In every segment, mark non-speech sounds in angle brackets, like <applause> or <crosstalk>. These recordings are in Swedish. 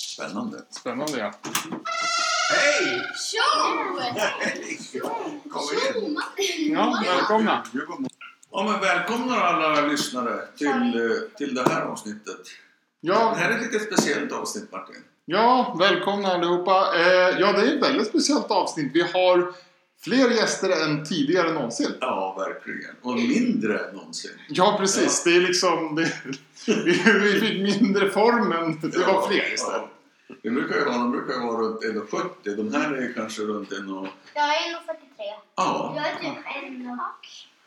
Spännande. Spännande ja. Hej! Tjo! Hej! Kom in. Ja, Tjomma! välkomna. Du går mot- Ja, men välkomna alla lyssnare till, eh, till det här avsnittet. Det Ja, här är ett lite speciellt avsnitt Martin. ja välkomna allihopa. Eh, ja, det är ett väldigt speciellt avsnitt. Vi har fler gäster än tidigare någonsin. Ja, verkligen. Och mindre än någonsin. Ja, precis. Det är liksom... Det, vi, vi fick mindre form, men det var fler istället. Ja. Vi brukar ju ha, de brukar ju vara runt 1,70. De här är kanske runt 1 och... Jag är 1,43. Ja. Jag är typ en och...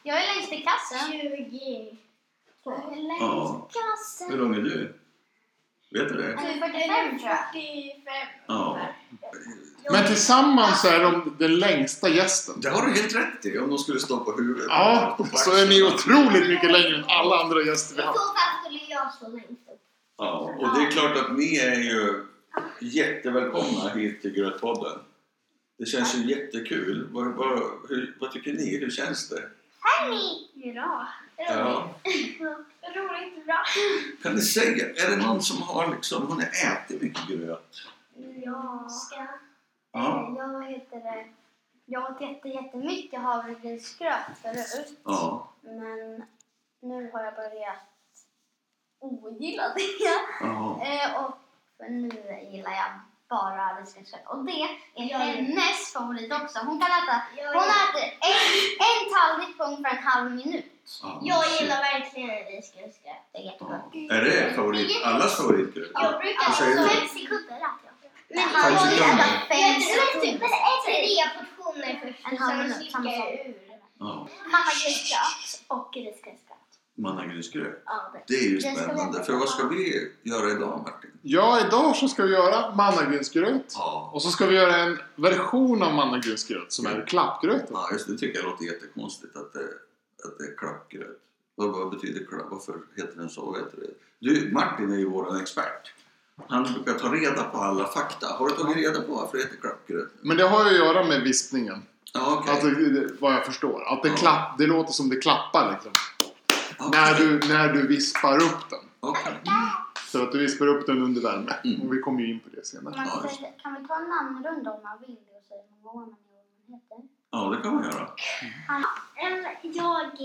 Jag är längst i klassen. 20. Jag är Ja. längst i Hur klassen. lång är du? Vet du det? Alltså, Typ 45 tror jag. Ja. Men typ- typ- tillsammans så är de den längsta gästen. Det har du helt rätt i, om de skulle stå på huvudet. Ja, På så är ni axlarna. otroligt mycket längre än alla andra gäster I vi så haft. fall skulle jag stå längst upp. Ja, och det är klart att ni är ju jättevälkomna hit till Grötpodden. Det känns ju jättekul. Vad, vad, hur, vad tycker ni? Hur känns det? Hej! Bra. Ja. Roligt bra. Kan ni säga, är det någon som har liksom, hon har ätit mycket gröt? Ja. Ska. Ja. Jag vad heter det? Jag åt jätte, jättemycket havregrynsgröt förut. Ja. Men nu har jag börjat ogilla det. ja. Eh, och för nu gillar jag bara risgrynsgröt. Och det är Ja. hennes favorit också. Hon kan äta, Jag, hon äter en, en tallrik på ungefär en halv minut. ja. jag gillar verkligen risgrynsgröt. Det är jättegott. Ja. Är det favorit, allas favoritgröt? Jag brukar Vad säger också... du? Fem sekunder äter jag. Men Han Alltså, Fem sekunder? vill äta fem Jag tror typ sekunder. tre portioner först. En En halv halv minut, samma sak. ur. Ja. Havregrynsgröt och risgrynsgröt. Mannagrysgröt. Ja, det. Det är ju Jag ska spännande. lära För vad ska vi göra idag Martin? Ja, idag så ska vi göra mannagrynsgröt. Ja. Och så ska vi göra en version av mannagrynsgröt som är klappgröt. Ja, just det. Det tycker jag låter jättekonstigt att det, att det är klappgröt. Vad, vad betyder klapp? Varför heter den så? Vad heter det? Du, Martin är ju vår expert. Han brukar ta reda på alla fakta. Har du tagit reda på varför det heter klappgröt? Men det har ju att göra med vispningen. Ja, okej. Alltså, det- det- vad jag förstår. Att det, Ja. klapp, det låter som det klappar liksom. Ja, När, okej. du, när du vispar upp den. Okej. Så att du vispar upp den under värme. Mm. Och vi kommer ju in på det senare. Man Ja, kan, just säga- kan vi ta en namnrunda om man vill och säga hur många år man är och vad man heter? Ja, det kan man göra. Jag heter Hanna och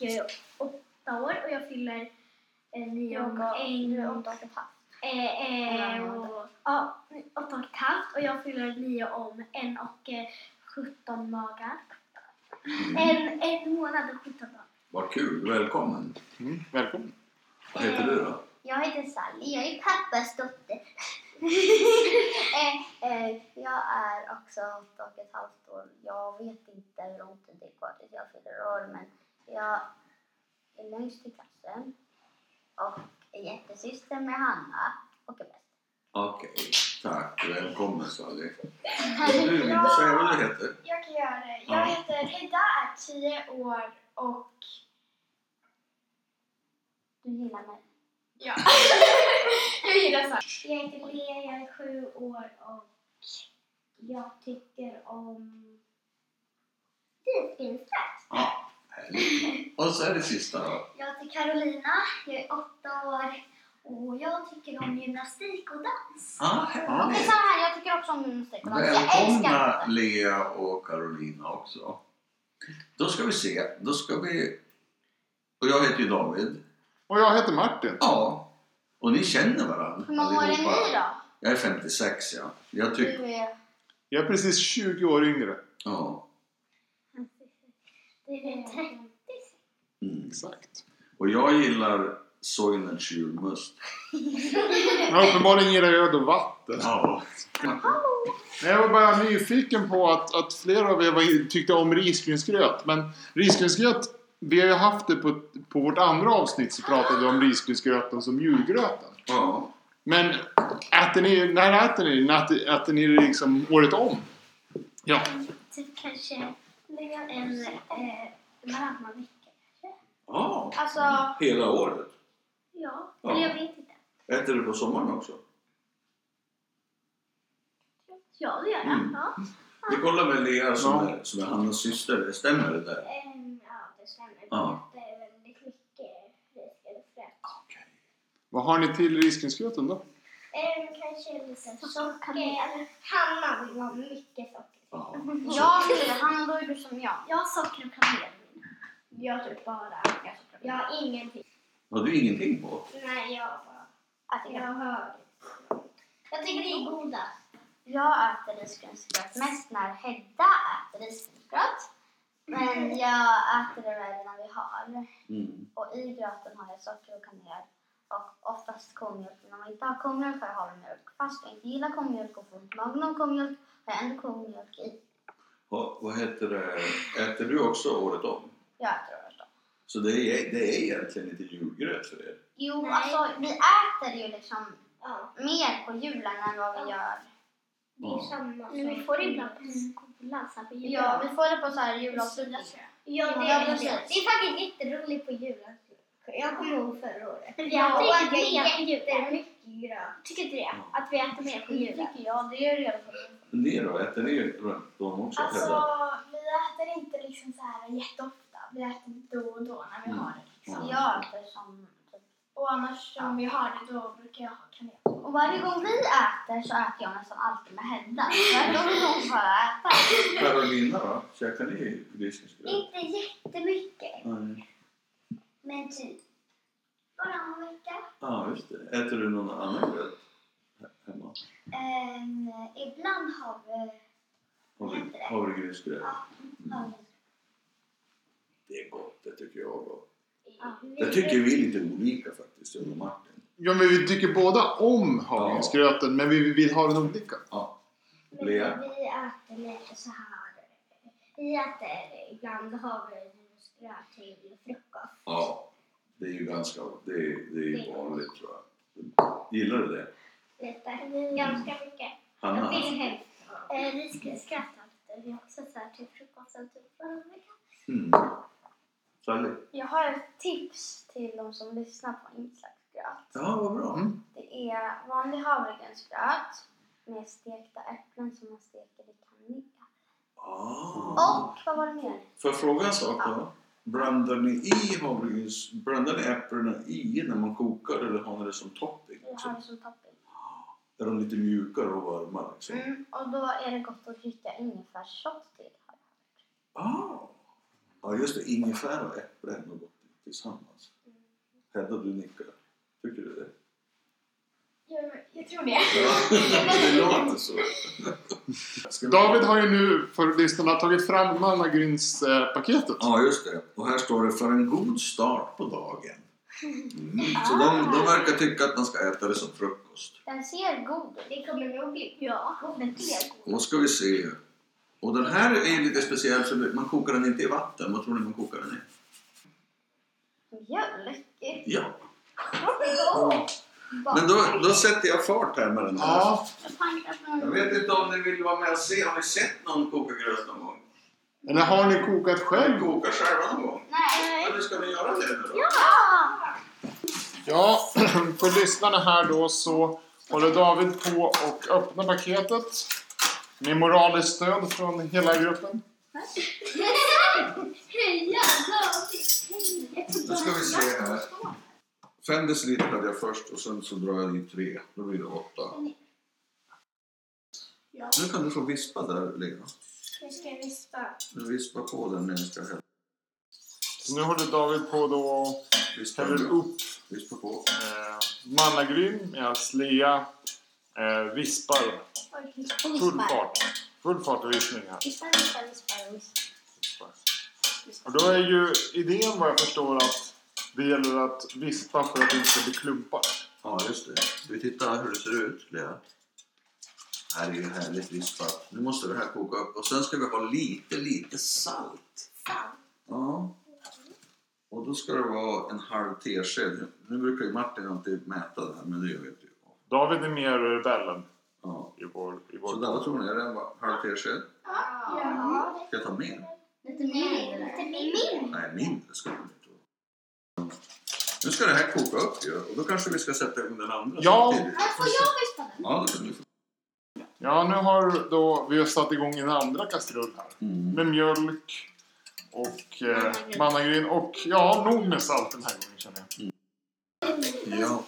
jag är åtta år och jag fyller eh, nio Jag och och en Ingrid och och... David Hatt. Eh, eh, En månad. och ja, åtta och ett halvt och jag fyller nio om en och eh, 17 dagar. En, en månad och 17 dagar. Vad kul. Välkommen. Mm. Välkommen. Vad heter du då? Jag heter Sally, jag är pappas <laughs> dotter. eh, eh, jag är också åtta och ett halvt år. Jag vet inte hur lång tid det är kvar tills jag fyller år men jag är längst i klassen och är jättesyster med Hanna och är bäst. Okej. Tack. Välkommen, Sally. Och du, Linda, säg vad du heter. Jag kan göra det. Ja. Jag heter Hedda, är 10 år och Du gillar mig. <laughs> ja. jag gillar så. Jag heter Lea, jag är 7 år och jag tycker om Risgrynsgröt. Ja, härligt. Och så är det sista då. Jag heter Carolina, jag är åtta år och jag tycker om gymnastik och dans. Ah, Det är härligt. samma här, jag tycker också om gymnastik och dans. alltså, Jag älskar Välkomna det. Lea och Carolina också. Då ska vi se. Då ska vi... Och jag heter ju David. Och jag heter Martin. Ja. Och ni känner varandra Hur många år är ni då? Jag är 56 ja. Jag tycker... Du är... Jag är precis 20 år yngre. Ja. det är det. Mm. Exakt. Och jag gillar Soylent Julmust. Men uppenbarligen gillar jag öd och vatten. Ja. Men jag var bara nyfiken på att, att flera av er var, tyckte om risgrynsgröt. Men risgrynsgröt, vi har ju haft det på, på vårt andra avsnitt så pratade vi om risgrynsgröten som julgröten. Ja. Men äter ni, när äter ni? När äter, äter ni det liksom året om? Ja. Typ kanske en eh, varannan vecka. Ja. Alltså, Hela året. ja. Ja. Eller jag vet inte. Äter du på sommaren också? Ja, det gör jag. Mm. Ja. Vi kollar med Lea som är, som är Hannas syster. Stämmer det där? Ehm, ja, det stämmer. Ja. Det är väldigt mycket risgrynsgröt. Vad har ni till risgrynsgröten då? en Ehm, kanske lite socker. kanel. Hanna vill ha mycket socker. Ja. Ja, han var ju som jag. Jag har socker och kanel. Jag typ bara. Jag har ingenting. Har du ingenting på? Nej, jag bara. Alltså, Jag jag, har. Jag tycker det är goda. jag äter risgrynsgröt mest när Hedda äter risgrynsgröt. Men jag äter det väl när vi har. Mm. Och i gröten har jag socker och kanel. Och oftast komjölk. Men om jag inte har komjölk har jag havremjölk. Fast jag inte gillar komjölk och får ont i magen av komjölk har jag ändå komjölk i. Ha, vad heter det? Äter du också året om? Jag äter det då. Så det är, det är egentligen inte julgröt för er? Jo, Nej. alltså vi äter ju liksom Ja, mer på julen än vad vi gör. det är Ja. samma Men vi sak. får det ibland på skolan. Så här på Ja, vi julen. får det på så här julafton. Sula, tror jag. Ja, det, Ja, är precis. det är faktiskt jätteroligt på julen. Jag kommer ihåg förra året. Men vi Jag äter åt inte mer på julen. jättemycket gröt. Tycker inte det? Att vi äter mer på Det julen. tycker jag. Det är redan Men Ni då? Äter ni runt om också? Alltså, Hedda? vi äter inte liksom så här jätteofta. Vi äter då och då när Mm. det. Ja. jag äter som... typ- Och annars om vi har det då brukar jag ha kanel. Och varje gång vi äter så äter jag nästan alltid med Hedda. Varje gång har jag ätit. Carolina då? Käkar ni risgrynsgröt? Inte jättemycket, Nej. men typ. Bara en vecka. Ja, just det. Äter du någon annan gröt he- hemma? Ehm, ibland har vi... Havre- Havregrynsgröt? Ja. Mm. Det är gott, det tycker jag också. Ja. Det tycker vi är lite olika faktiskt, jag och Martin. Ja, men vi tycker båda om havregrynsgröten, men vi vill ha den olika. Ja. Men Lea? vi äter lite så här. Vi äter ibland havregrynsgröt till frukost. ja. Det är ju ganska det är, det är Det är vanligt tror jag. Gillar du det? Lite. Ganska mycket. Hanna? helst eh, risgrynsgröt äter vi också så här till frukosten typ varannan vecka. Mm. Sally? Jag har ett tips till de som lyssnar på inslagsgröt. Ja, vad bra. Mm. Det är vanlig havregrynsgröt med stekta äpplen som man steker i kanel. Ah. Och vad var det mer? Får jag fråga en sak då? Blandar ni i havregryns... Blandar ni äpplena i när man kokar eller har ni det som topping? Jag har det som topping. Är de lite mjukare och varma liksom? Mm, och då är det gott att dricka ingefärsshot till. Ah. Ja, just det. Ingefära och äpple är nog gott tillsammans. Hedda, du nickar. Tycker du det? Jag, jag tror det. Ja, <laughs> det låter så. Ska vi- David har ju nu för lyssnarna tagit fram mannagrynspaketet. Ja, just det. Och här står det för en god start på dagen. Mm. Så de, de verkar tycka att man ska äta det som frukost. Den ser god ut. Det kommer nog bli Ja. god. Den är god. Då ska vi se. Och den här är lite speciell för man kokar den inte i vatten. Vad tror ni man kokar den i? Mjölk. Ja. Men då, då sätter jag fart här med den här. Ja, Jag vet inte om ni vill vara med och se. Har ni sett någon koka gröt någon gång? eller har ni kokat Ni själv? kokar själva någon gång? Nej. Eller ska ni göra det nu då? Ja, <clears throat> för lyssnarna här då så håller David på och öppnar paketet. Med moraliskt stöd från hela gruppen. Nu ska vi se här. Fem deciliter hade jag först och sen så drar jag i tre. Då blir det åtta. Nu kan du få vispa där, Lena. Jag ska vispa. Du vispar på den när jag ska hälla. Så nu håller David på då och Vispa, häller upp vispa på. eh, mannagryn medan Lea eh, vispar. Full fart. Full fart och vispning här. Vispar, vispar, vispar, vispar. Och då är ju idén vad jag förstår att det gäller att vispa för att det inte ska bli klumpar. Ja, just det. Ska vi titta hur det ser ut, Lea? Här är ju härligt vispat. Nu måste det här koka upp. Och sen ska vi ha lite, lite salt. Ja. Och då ska det vara en halv tesked. Nu brukar ju Martin alltid mäta det här, men det gör vi inte. David är mer rebellen Ja. i vår... I Så vår där, vad tror ni? Är det en halv tesked? Ja. Ska jag ta mer? Lite mindre. Lite mindre. Nej, mindre ska det inte vara. Nu ska det här koka upp ju. Och då kanske vi ska sätta igång den andra Ja. samtidigt. Alltså, Men får jag vispa den? Ja, det kan du få. Ja, nu har då vi har satt igång en andra kastrull här. Mm. Med mjölk och eh, mannagryn och ja, nog med salt den här gången känner jag. Ja.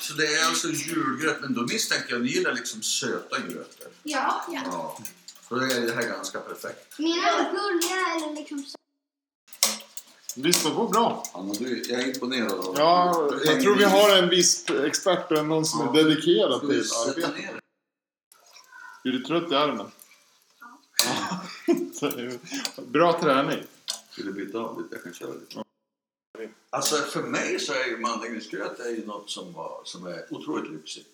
Så det är alltså julgröt, men då misstänker jag ni gillar liksom söta grötor. Ja. Ja. Så det är det här ganska perfekt. Mina är gulliga eller liksom så. Lyssna på bra. Anna, du, jag är imponerad av Ja, Du hänger jag tror vi i. har en viss expert, och någon som är Ja. dedikerad Ska till vi sätta arbetet. ner det? Är du trött i armen? Så, <laughs> bra träning. Vill du byta av lite? Jag kan köra lite. Alltså för mig så är ju mandelsgröt är ju något som, var, som är otroligt lyxigt.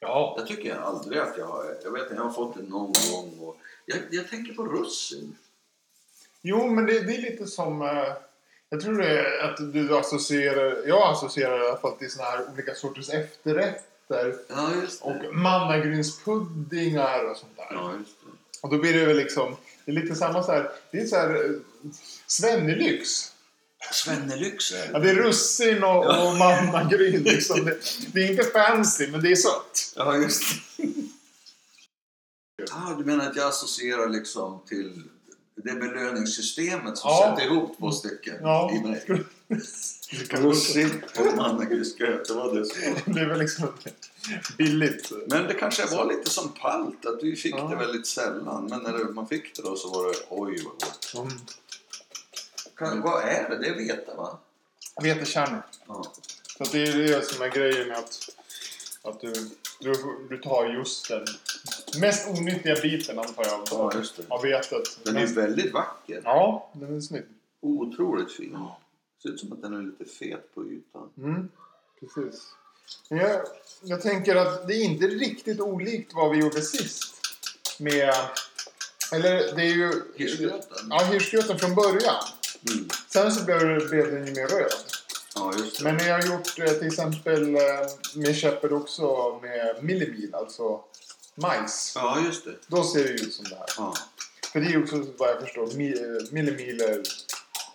Ja. Jag tycker aldrig att jag har, jag vet inte, jag har fått det någon gång och jag, jag tänker på russin. Jo, men det, det är lite som... eh, Jag tror det är att du associerar... Jag associerar i alla fall till såna här olika sorters efterrätter. Ja, just det. Och mannagrynspuddingar och sånt där. Ja, just det. Och då blir det väl liksom... Det är lite samma så här... Det är så här... eh, Svennelyx. Svennelyx är Ja, det. det är russin och, och mannagryn liksom. Det, det är inte fancy, men det är sött. Ja, just det. Ah, du menar att jag associerar liksom till det belöningssystemet som Ja. sätter ihop två stycken Ja. i mig? Det kan vara så. Russin och mannagrynsgröt, det var det som var. <laughs> Det är väl liksom billigt. Men det kanske var lite som palt, att vi fick Ja. det väldigt sällan. Men när det- man fick det då så var det oj vad gott. Mm. Kan, vad är det? Det är vete va? Vetekärnor. Ja. Så att det är det som är grejen med att, att du, du, du tar just den mest onyttiga biten antar jag av, ja, just det. av vetet. Den är Men- väldigt vacker. Ja, den är snygg. Otroligt fin. Ser ut som att den är lite fet på ytan. Mm, precis. Men Jag, jag tänker att det är inte riktigt olikt vad vi gjorde sist. Med... Eller det är ju... Hirschgröten? Ja, hirschgröten från början. Mm. Sen så blev, blev den ju mer röd. Ja, just det. Men jag har gjort eh, till exempel eh, med Shepard också med millimil, alltså majs. Ja, just det. Då ser det ju ut som det här. Ja. För det är ju också vad jag förstår mi, eh, millimiler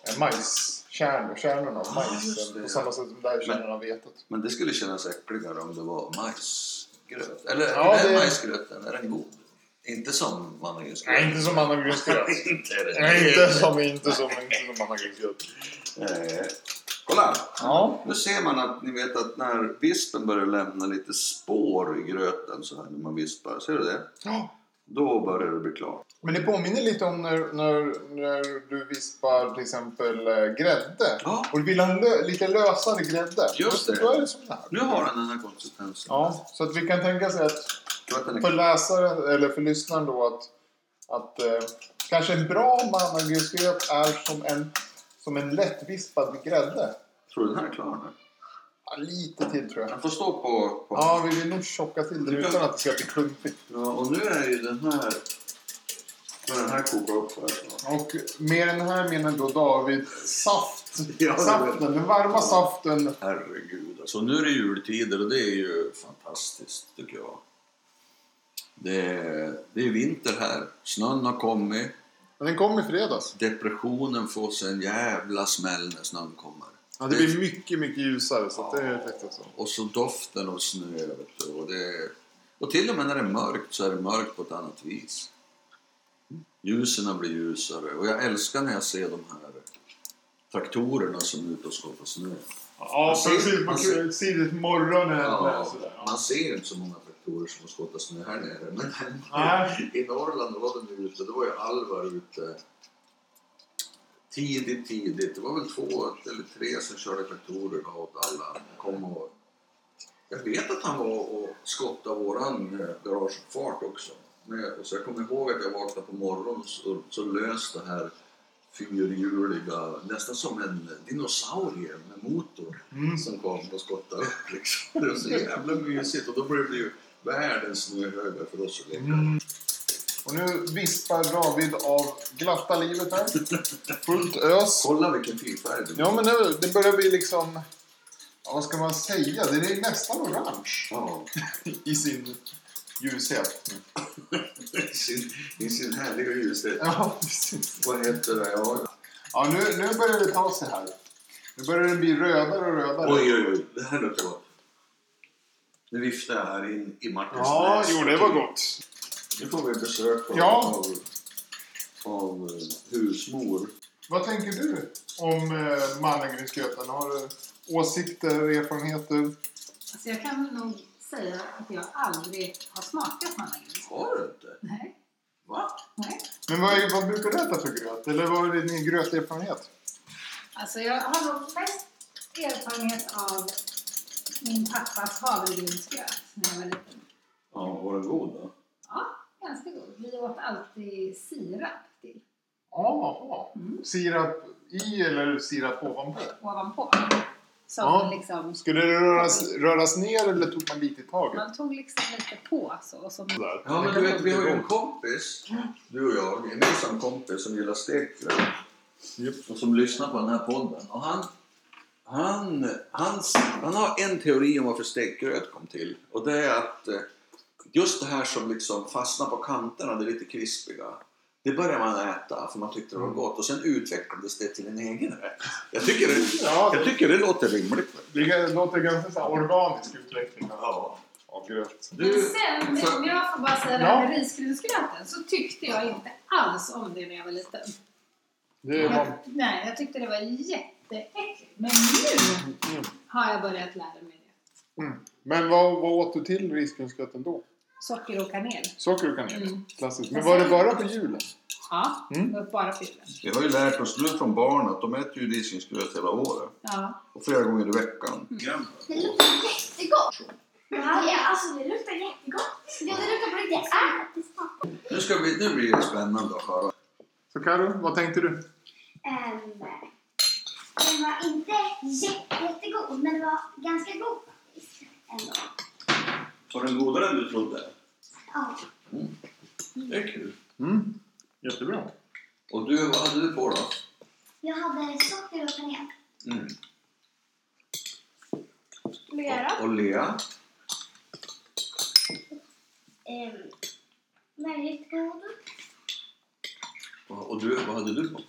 eh, majskärnor, kärnorna av just majsen. det, på ja. samma sätt som Ah, det här är kärnorna av vetet. Men det skulle kännas äckligare om det var majsgröt. Eller Ja, är det... det- majsgröten, är den god? Inte som mannagrynsgröt. <laughs> Nej, inte som anagrynsgröt. <laughs> inte är det. Nej, inte som, inte som, inte som anagrynsgröt. Eh, kolla! Ja. Nu ser man att ni vet att när vispen börjar lämna lite spår i gröten så här när man vispar, ser du det? Ja. Då börjar det bli klart. Men det påminner lite om när, när, när du vispar till exempel eh, grädde. Ja. Och du vill ha en lö, lite lösare grädde. Just det. Då är det som det här. Nu har den den här konsistensen. Ja, så att vi kan tänka sig att Jag tror att den är för läsaren eller för lyssnaren då att, att eh, kanske en bra mannagrynsgröt är som en, som en lättvispad grädde. Tror du den här är klar nu? Ja, lite till tror jag. Den får stå på... på. Ja, vi vill nog tjocka till den utan att det ska bli klumpigt. Ja, och nu är ju den här... Nu är den här kokar upp här snart. Och med den här menar då David saft. <laughs> Ja, det- Saften, den varma saften. Herregud alltså. Nu är det jultider och det är ju fantastiskt tycker jag. Det är, det är vinter här. Snön har kommit. Men Den kom i fredags. Depressionen får sig en jävla smäll när snön kommer. Ja, det blir mycket, mycket ljusare så att det är alltså. faktiskt så. Och så doften av snö. Vet du. Och, det, och till och med när det är mörkt så är det mörkt på ett annat vis. Ljusen blir ljusare och jag älskar när jag ser de här traktorerna som är ute och skapar snö. Ja, precis. Man ser tidigt på morgonen. Ja, man ser inte så många traktorer som skottar snö här nere. Men Nej. <laughs> i Norrland var de ju ute, då var ju Alvar ute tidigt, tidigt. Det var väl två eller tre som körde traktorer då åt alla. Kom och, jag vet att han var och skottade våran eh, garageuppfart också. Men- Och så jag kommer ihåg att jag vaknade på morgonen så, så lös det här fyrhjuliga, nästan som en dinosaurie med motor Mm, som kom och skottade upp. Liksom. Det var så jävla mysigt och då blev det ju världens snöhögar för oss att leka. Mm. Och nu vispar David av glatta livet här. Fullt ös. Kolla vilken fin färg det Ja, men nu, det börjar bli liksom... Ja, vad ska man säga? Det är nästan orange Ja, i sin ljushet. i sin, i sin härliga ljushet. Ja, precis. Vad heter det? Ja. Ja, nu, nu börjar det ta sig här. Nu börjar den bli rödare och rödare. Oj, oj, oj. Det här luktar gott. Nu viftar jag här in i Martins Ja, näs. jo, det var gott. Nu får vi besök av, Ja. av, av eh, husmor. Vad tänker du om eh, mannagrynsgröten? Har du åsikter, erfarenheter? Alltså jag kan väl nog säga att jag aldrig har smakat mannagris. Har du inte? Nej. Va? Nej. Men vad, är, vad brukar du äta för gröt? Eller vad är din gröterfarenhet? Alltså jag har nog mest erfarenhet av min pappas havregrynsgröt när jag var liten. Ja, var den god då? Ja, ganska god. Vi åt alltid sirap till, Ah, Jaha. Mm. Sirap i eller sirap ovanpå? ovanpå. Som Ja. liksom, Skulle det röras, röras ner eller tog man lite i taget? man tog liksom lite på så. Och så Sådär. Ja, men du vet, vi har ju en kompis, du och jag, en gemensam kompis som gillar stekgröt och som lyssnar på den här podden. Och han, han, hans, han har en teori om varför stekgröt kom till och det är att eh, just det här som liksom fastnar på kanterna, det lite krispiga, det börjar man äta för man tyckte det var gott och sen utvecklades det till en egen rätt. Jag tycker det, Ja, jag tycker det låter rimligt. det låter ganska så här organisk utveckling av- Ja. av gröt. Men Du, sen, för- om jag får bara säga det här Ja. med risgrynsgröten, så tyckte jag inte alls om det när jag var liten. Det är Jag, man... nej, jag tyckte det var jätteäckligt. Men nu Mm. har jag börjat lära mig det. Mm. Men vad, vad åt du till risgrynsgröten då? Socker och kanel. Socker och kanel? Mm. Klassiskt. Men var Alltså- det bara på julen? Ja, Mm. det var bara på julen. vi har ju lärt oss nu från barn att de äter ju risgrynsgröt hela året. Ja. och flera gånger i veckan. Det luktar jättegott! Det här är, alltså det luktar jättegott. Ja, det luktar på riktigt ärtigt. Nu, ska vi, nu blir det spännande att höra. Så Karo, vad tänkte du? Ehm, Den var inte jätte, jättegod, men den var ganska god faktiskt. Ehm, Ändå. Var den godare än du trodde? Ja. Det är kul. Mm. Jättebra. Och du, vad hade du på då? Jag hade socker och kanel. Mm. Mera. Och Lea? Ehm, väldigt god. Och du, vad hade du på?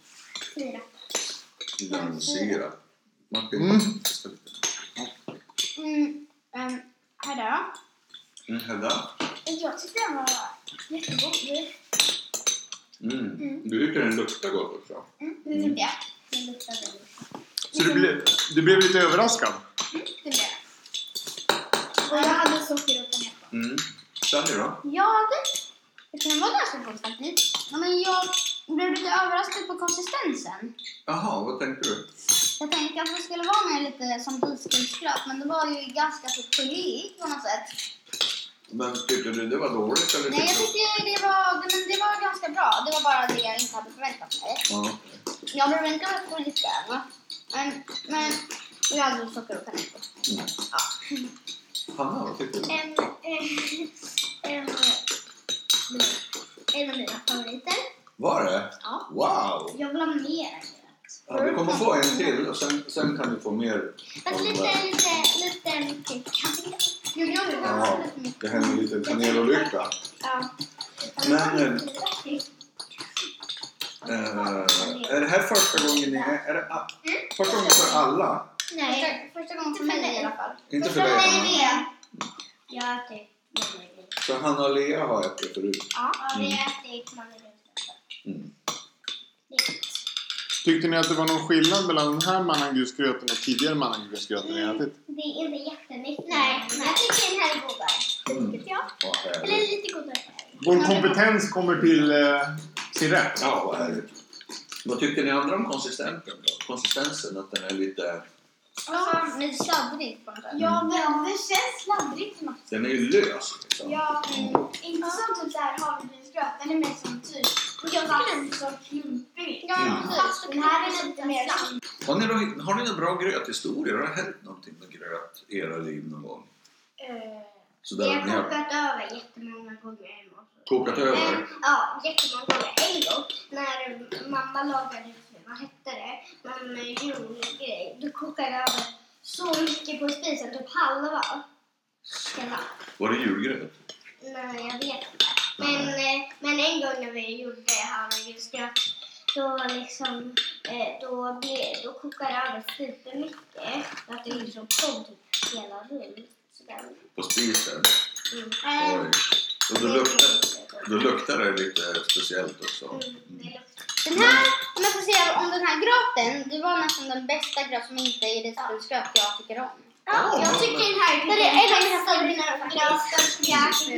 Sirap. Sirap. Martin? Mm. Mm, Ehm, um, här då. Mm, Hedda? Jag tyckte den var jättegod. Mm. Du tycker den luktar gott också? Mm, det tyckte jag. Den luktade väldigt gott. Så du blev, du blev lite överraskad? Det blev jag. Och jag hade socker och kanel. Mm. Sally då? Jag... Det kan vara ganska god faktiskt. Ja, Men jag blev lite överraskad på konsistensen. Jaha, vad tänkte du? Jag tänkte att det skulle vara mer lite som risgrynsgröt, men det var ju ganska så geléigt på något sätt. Men tyckte du det var dåligt eller? Nej, jag tyckte... tyckte det var, men det var ganska bra. Det var bara det jag inte hade förväntat mig. Ja. Jag förväntade mig att få lite, va? men, men jag hade socker och kanel. Mm. Hanna, vad tyckte du? En, en, en av mina favoriter. Var det? Ja. Wow! Jag vill ha mer. Ja, du kommer få en till och sen, sen kan du få mer. Fast lite, lite, lite mycket kanel. Jag vill ha Ja. lite mycket. Det här är en liten kanelolycka. Ja. Men, eh, Eh, är det här första gången ni är, är det a- första gången för alla? Nej, första gången för mig i alla fall. Inte för dig Hanna. med. Jag har ätit mandelbröd. För Hanna och Lea har ätit förut. Ja, vi har ätit mandelbröd. Mm. Det är gott. Tyckte ni att det var någon skillnad mellan den här mannagrynsgröten och tidigare mannagrynsgröten ni ätit? Det är inte jättemycket. Nej, jag tycker den här är godare. Mm. Tycker jag. Vad Eller härligt. lite godare. Vår kompetens kommer till eh, sin rätt. Ja, vad härligt. Vad tyckte ni andra om konsistensen då? Konsistensen, att den är lite... Alltså, men sladdrig på något sätt. Ja, men det känns sladdrigt på något sätt. Den är ju lös liksom. Ja, inte som typ såhär havregrynsgröt. Den är mer som typ... Och jag tycker den är så klumpig. Ja, Mm. precis. Den här är lite mer som... Har ni, då- har ni några bra gröthistorier? Har det hänt någonting med gröt i era liv någon gång? Eh, Sådär, ni har över jättemånga gånger hemma. kokat Eh. över? Ja, jättemånga gånger. En gång när mamma lagade, vad hette det, någon julgrej. Då kokade jag över så mycket på spisen, typ halva. Hela. Var det julgröt? Nej, jag vet inte. Men, eh, men en gång när vi gjorde havregrynsgröt då liksom, eh, då, ble, då kokade det över supermycket. Så att det liksom kom typ hela rum. Sådär. På spisen? Mm. Oj. Och då luktar, då luktar det lite speciellt också. Mm, Den här, om jag får säga om den här gröten, det var nästan den bästa gröt som inte är risgrynsgröt jag tycker om. Ja, Jag vad- tycker den här Det är en av mina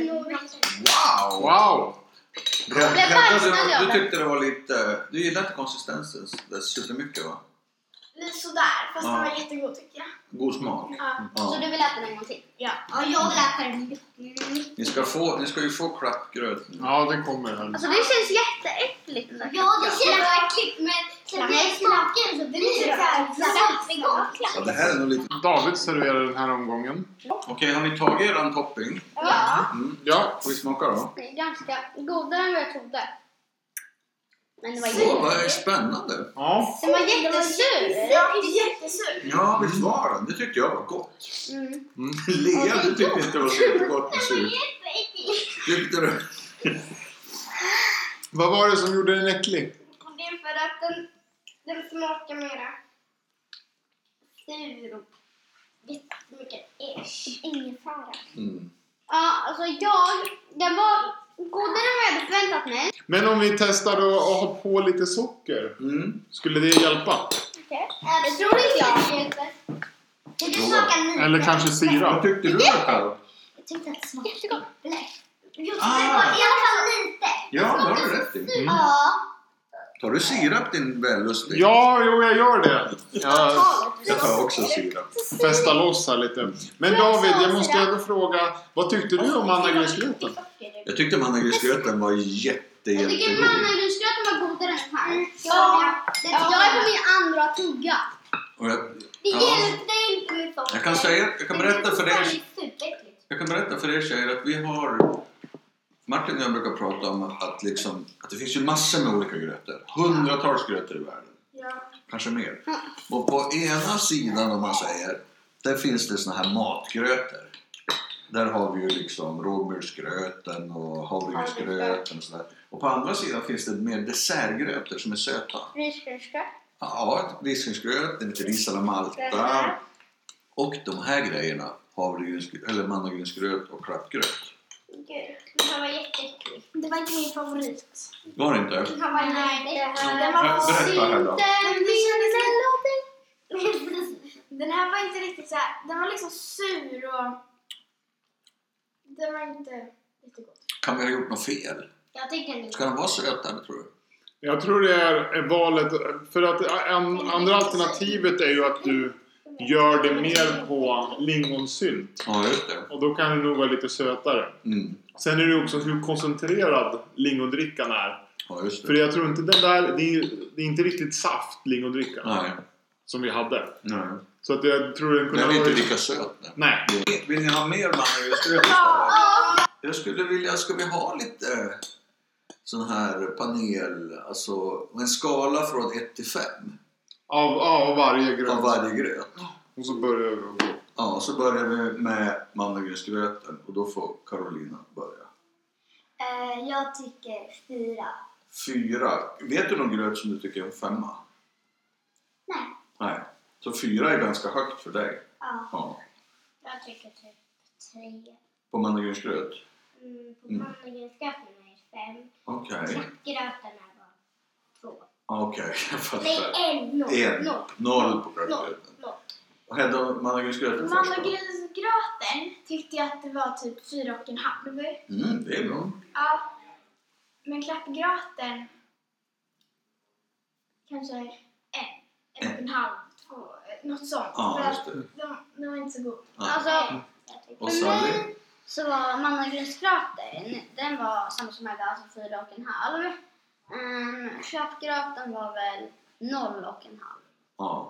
favoriter. Wow! Wow! Rätt- blev rätt- varm när jag du, du öppnade. tyckte det var lite... Du gillade inte konsistensen där supermycket va? Lite sådär, fast den Ja. var jättegod tycker jag. God smak. Ja. Så Ja. du vill äta den en gång till? Ja, jag vill äta den mycket. Ni, ska få, ni ska ju få klappgröt nu. Ja, den kommer här. Alltså det känns jätteäckligt. den där Ja, det kakan. känns verkligen, men sen när jag smakar så blir det såhär saltbegåvat. Ja, det här är nog lite... David serverar den här omgången. Okej, har ni tagit eran topping? Ja. Mm. Ja, Får vi smaka då? Det är ganska godare än vad jag trodde. Men det var Åh, jättesur. vad är spännande! ja. Den var jättesur. Ja, det är jättesurt. Ja, visst var den? Det tyckte jag var gott. Mm. <laughs> Lea, du tyckte inte det var så gott med surt. Tyckte du? Vad var det som gjorde den äcklig? Och det är för att den, den smakar mera sur och jättemycket äsch. Ingefära. Mm. Ja, alltså jag... Den var godare än vad jag hade förväntat mig. Men om vi testar att att ha på lite socker, Mm. skulle det hjälpa? Det tror inte jag. Det smakar lite. Eller kanske Vad sirap? tyckte du då Karo? Jag tyckte att det smakade Jättegott. Jag Ah. tyckte det var i alla fall lite. Ja, det har du rätt i. Mm. Ja. Tar du sirap din vällustig? Ja, jo, jag gör det. Jag Jag tar också sirap. festar loss här lite. Men David, jag måste ändå fråga, vad tyckte du om Det mannagrynsgröten? smakar- Jag tyckte mannagrynsgröten var jätte, Jag tycker jättegod. mannagrynsgröten var godare än den här. Ja, det Mm. Ja, Jag är på min andra tugga. Och jag, Det Ja. hjälpte inte med socker. jag kan säga, jag kan berätta för er Det är superäckligt. Jag kan berätta för er tjejer att vi har Martin och jag brukar prata om att, liksom, att det finns ju massor med olika grötor. Hundratals grötor i världen. Ja. Kanske mer. Och på ena sidan om man säger, där finns det såna här matgrötor. Där har vi ju liksom rågmjölsgröten och havregrynsgröten och sådär. Och på andra sidan finns det mer dessertgrötor som är söta. Risgrynsgröt. Ja, risgrynsgröt, det är lite ris alla malta. Och de här grejerna, havregrynsgröt, eller mannagrynsgröt och klappgröt. Gud, den här var jätteäcklig. Det var inte min favorit. Var det inte? Den här var jätteäcklig. Ber- Den var Berätta här då. Den kändes lite... <laughs> Den här var inte riktigt så här. Den var liksom sur och... Den var inte jättegod. Kan vi ha gjort något fel? Jag tyckte den Ska den vara sötare tror du? Jag tror det är valet, för att en, andra alternativet är ju att du gör det mer på lingonsylt. Ja, just det. Och då kan det nog vara lite sötare. Mm. Sen är det ju också hur koncentrerad lingondrickan är. Ja, just För det. jag tror inte den där, det är, det är inte riktigt saft lingondricka Nej, som vi hade. nej. Så att jag tror den kunde Den är ha inte varit- lika söt. nej. Nej. Vill ni ha mer mannagrynsgröt istället? Jag skulle vilja, ska vi ha lite sån här panel, alltså och en skala från 1 till 5 Av, av varje gröt. av varje gröt. Och så börjar vi och gå. Ja, så börjar vi med mannagrynsgröten och då får Carolina börja. Eh, Jag tycker fyra. Fyra. Vet du någon gröt som du tycker är en femma? Nej. Nej. Så fyra är ganska högt för dig? Ja. Ja. Jag tycker typ tre. På mannagrynsgröt? Mm, på Mm. mannagrynsgröten är fem. Okej. Knäckgröten är bara två. Okej, jag Nej, fattar. en. Noll. En. Noll. Noll på Noll. grötgröten. Noll. Och Hedda, mannagrynsgröten först då. Mannagrynsgröten tyckte jag att det var typ fyra och en halv. Mm, det är bra. Ja. Men klappgröten kanske en, en och en halv, två, något sånt. Ja, För just att det. de, de var inte så god. Ja. Alltså, Och för Sally? mig så var mannagrynsgröten, den var samma som jag hade, alltså fyra och en halv. Um, köttgröten var väl noll och en halv. Ja.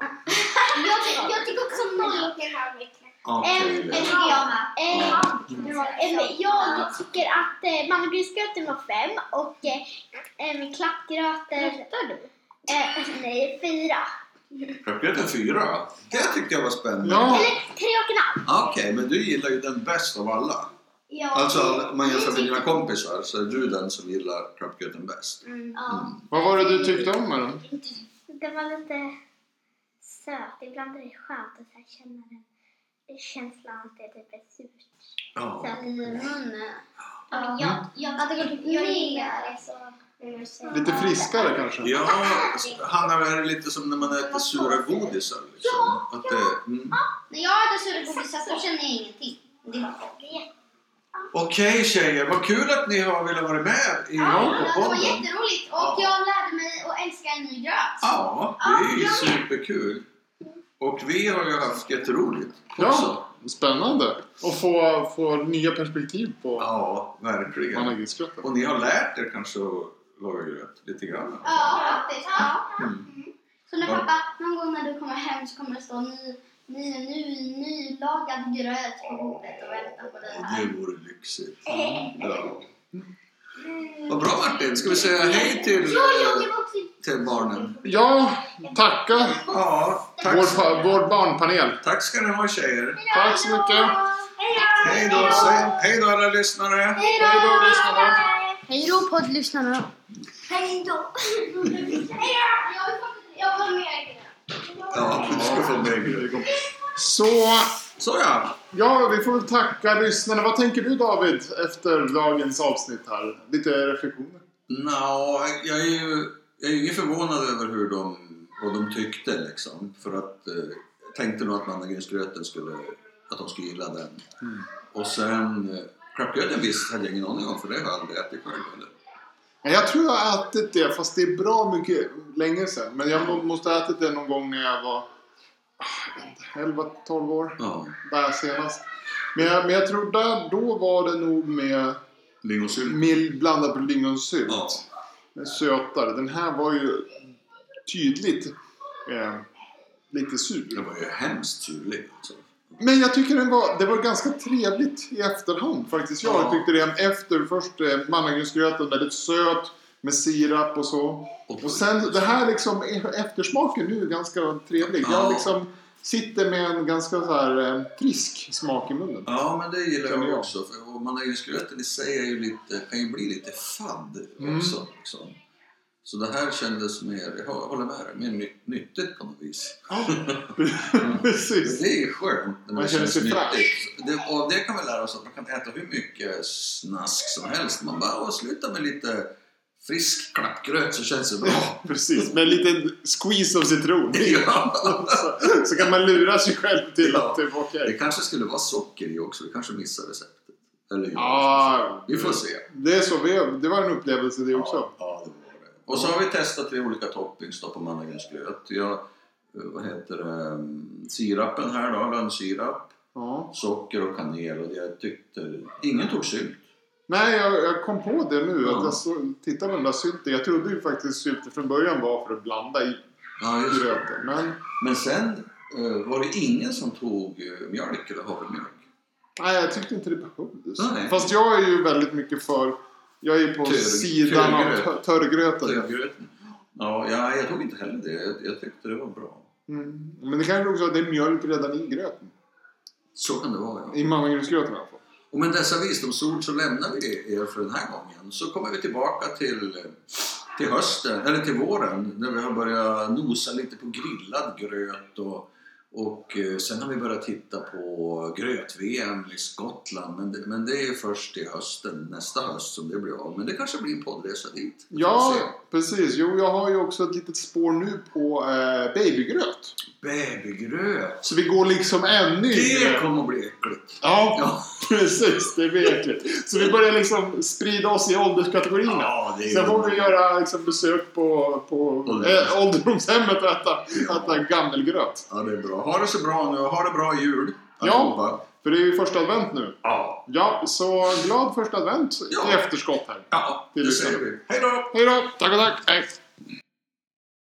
Jag tycker, jag tycker också noll. och en halv vecka. Okej, En, en Lea. tycker jag med. Eh, Ja. det var- eh, Jag tycker att eh, mannagrynsgröten var fem och eh, eh, klappgröten... Röstar du? Eh, nej, fyra. Grötgröten fyra. Det tyckte jag var spännande. Ja. Eller tre och en halv. Okej, men du gillar ju den bäst av alla. Ja, Alltså, om man jämför med dina tyckte- kompisar så är du den som gillar grötgröten bäst. Mm. Ja. Vad var det du tyckte om med den? Det var lite söt. Ibland är det skönt att så här känna den känslan att det är typ är surt Ja. i munnen. Mm. Ja, jag, jag, typ- jag, jag gillar det så. Lite friskare kanske? Ja, Hanna, det här är lite som när man äter sura godisar. Liksom. Att det, mm. När jag äter surgodisar så känner jag ingenting. Det var jätteroligt. Okej tjejer, vad kul att ni har velat vara med i Rockpodden. jätteroligt Ja. jag lärde mig att älska en ny gröt. Ja, det är ju superkul. Och vi har ju haft jätteroligt också. Ja, spännande. Och få, få nya perspektiv på Ja, verkligen. mannagrynsgröten. Och ni har lärt er kanske att laga gröt lite grann. Ja, faktiskt. Ja. Mm. Så nu Ja. pappa, någon gång när du kommer hem så kommer det stå ny, ny, ny, nylagad gröt på bordet och vänta på dig Och här. det vore lyxigt. Ja. Vad bra Martin! Ska vi säga hej till, eh, till barnen? Ja, tacka Ja, tack, vår, pa- vår barnpanel. tack ska ni ha tjejer. Tack så mycket. Hej då, säg, hej då alla lyssnare! Hej då lyssnare. Hej då poddlyssnarna. Hej då! <laughs> Jag vill ha mer gröt. Ja, du ska få mer gröt. Så, Så ja, ja, vi får väl tacka lyssnarna. Vad tänker du David efter dagens avsnitt här? Lite reflektioner? Nå, jag är ju jag är ju inte förvånad över hur de, vad de tyckte liksom. För att eh, jag tänkte nog att mannagrynsgröten skulle, att de skulle gilla den. Och sen eh, Klappgröten visst hade jag ingen aning om för det har jag aldrig ätit själv. Eller? Nej, Jag tror jag har ätit det, fast det är bra mycket länge sedan. Men jag må- måste ha ätit det någon gång när jag var ah, 11-12 år. Ja, Där senast. Men jag, men jag tror där, då var det nog med lingonsylt. mild blandat med lingonsylt. Ja. Med Sötare. Den här var ju tydligt eh, lite Det sur. var ju hemskt syrlig alltså. Men jag tycker den var, det var ganska trevligt i efterhand faktiskt. Jag Ja. tyckte det efter först eh, mannagrynsgröten väldigt söt med sirap och så. Och sen det här liksom e- eftersmaken nu är ganska trevlig. Ja. Jag liksom sitter med en ganska så här eh, frisk smak i munnen. Ja, men det gillar Känner jag jag. också. För och mannagrynsgröten i sig är ju lite, kan ju bli lite fadd Mm. också. Liksom. Så det här kändes mer, jag håller med dig, mer ny, nyttigt på något vis. Ja, Mm. <laughs> precis. Det är skönt när Man känner sig fräsch. Det, och det kan vi lära oss att man kan äta hur mycket snask som helst. Man bara "Åh, sluta med lite frisk klappgröt så känns det bra. Precis, med en liten squeeze av citron. <laughs> Ja. så, så kan man lura sig själv till att det var Det okej. kanske skulle vara socker i också, vi kanske missar receptet. Eller jag. Ja, vi får se. Ah, Det är så, vi, det var en upplevelse det också. Ja, det var det. Och så har vi testat tre olika toppings då på mannagrynsgröt. Jag, eh, vad heter det, ehm, sirapen här då, lönnsirap, Ja. socker och kanel och jag tyckte, ingen tog sylt. Nej, jag, jag kom på det nu. Ja. Att jag så, tittade på den där sylten. Jag trodde ju faktiskt sylten från början var för att blanda i Ja, gröten. Men Men sen eh, var det ingen som tog eh, mjölk eller havremjölk. nej, jag tyckte inte det behövdes. Nej. Fast jag är ju väldigt mycket för... Jag är på Tör- sidan av törgröt. tör- törgröten. Gröten. Ja, ja, jag tog inte heller det. Jag, jag tyckte det var bra. Mm. Men det kanske också är att det är mjölk redan i gröten. Så kan det vara ja. I mannagrynsgröten i alla fall. Och med dessa visdomsord så lämnar vi er för den här gången. Så kommer vi tillbaka till, till hösten, eller till våren, där vi har börjat nosa lite på grillad gröt och, och eh, sen har vi börjat titta på gröt-VM i Skottland. Men det, men det är först till hösten, nästa höst, som det blir av. Men det kanske blir en poddresa dit. Vi får Ja, se. precis. Jo, jag har ju också ett litet spår nu på eh, babygröt. Babygröt! Så vi går liksom ännu i Det gröt. kommer att bli äckligt! Ja, <laughs> Ja, precis. Det blir äckligt. Så vi börjar liksom sprida oss i ålderskategorierna. ja det är Sen får vi göra liksom besök på, på Ålderdoms- äh, ålderdomshemmet och äta, äta gammelgröt. Ja, det är bra. Ha det så bra nu och ha det bra jul! Ja. allihopa. För det är ju första advent nu. Ja! Ja, så glad första advent Ja. i efterskott här. Ja, Till det säger vi. Hej då! Hej då! Tack och tack! Hej.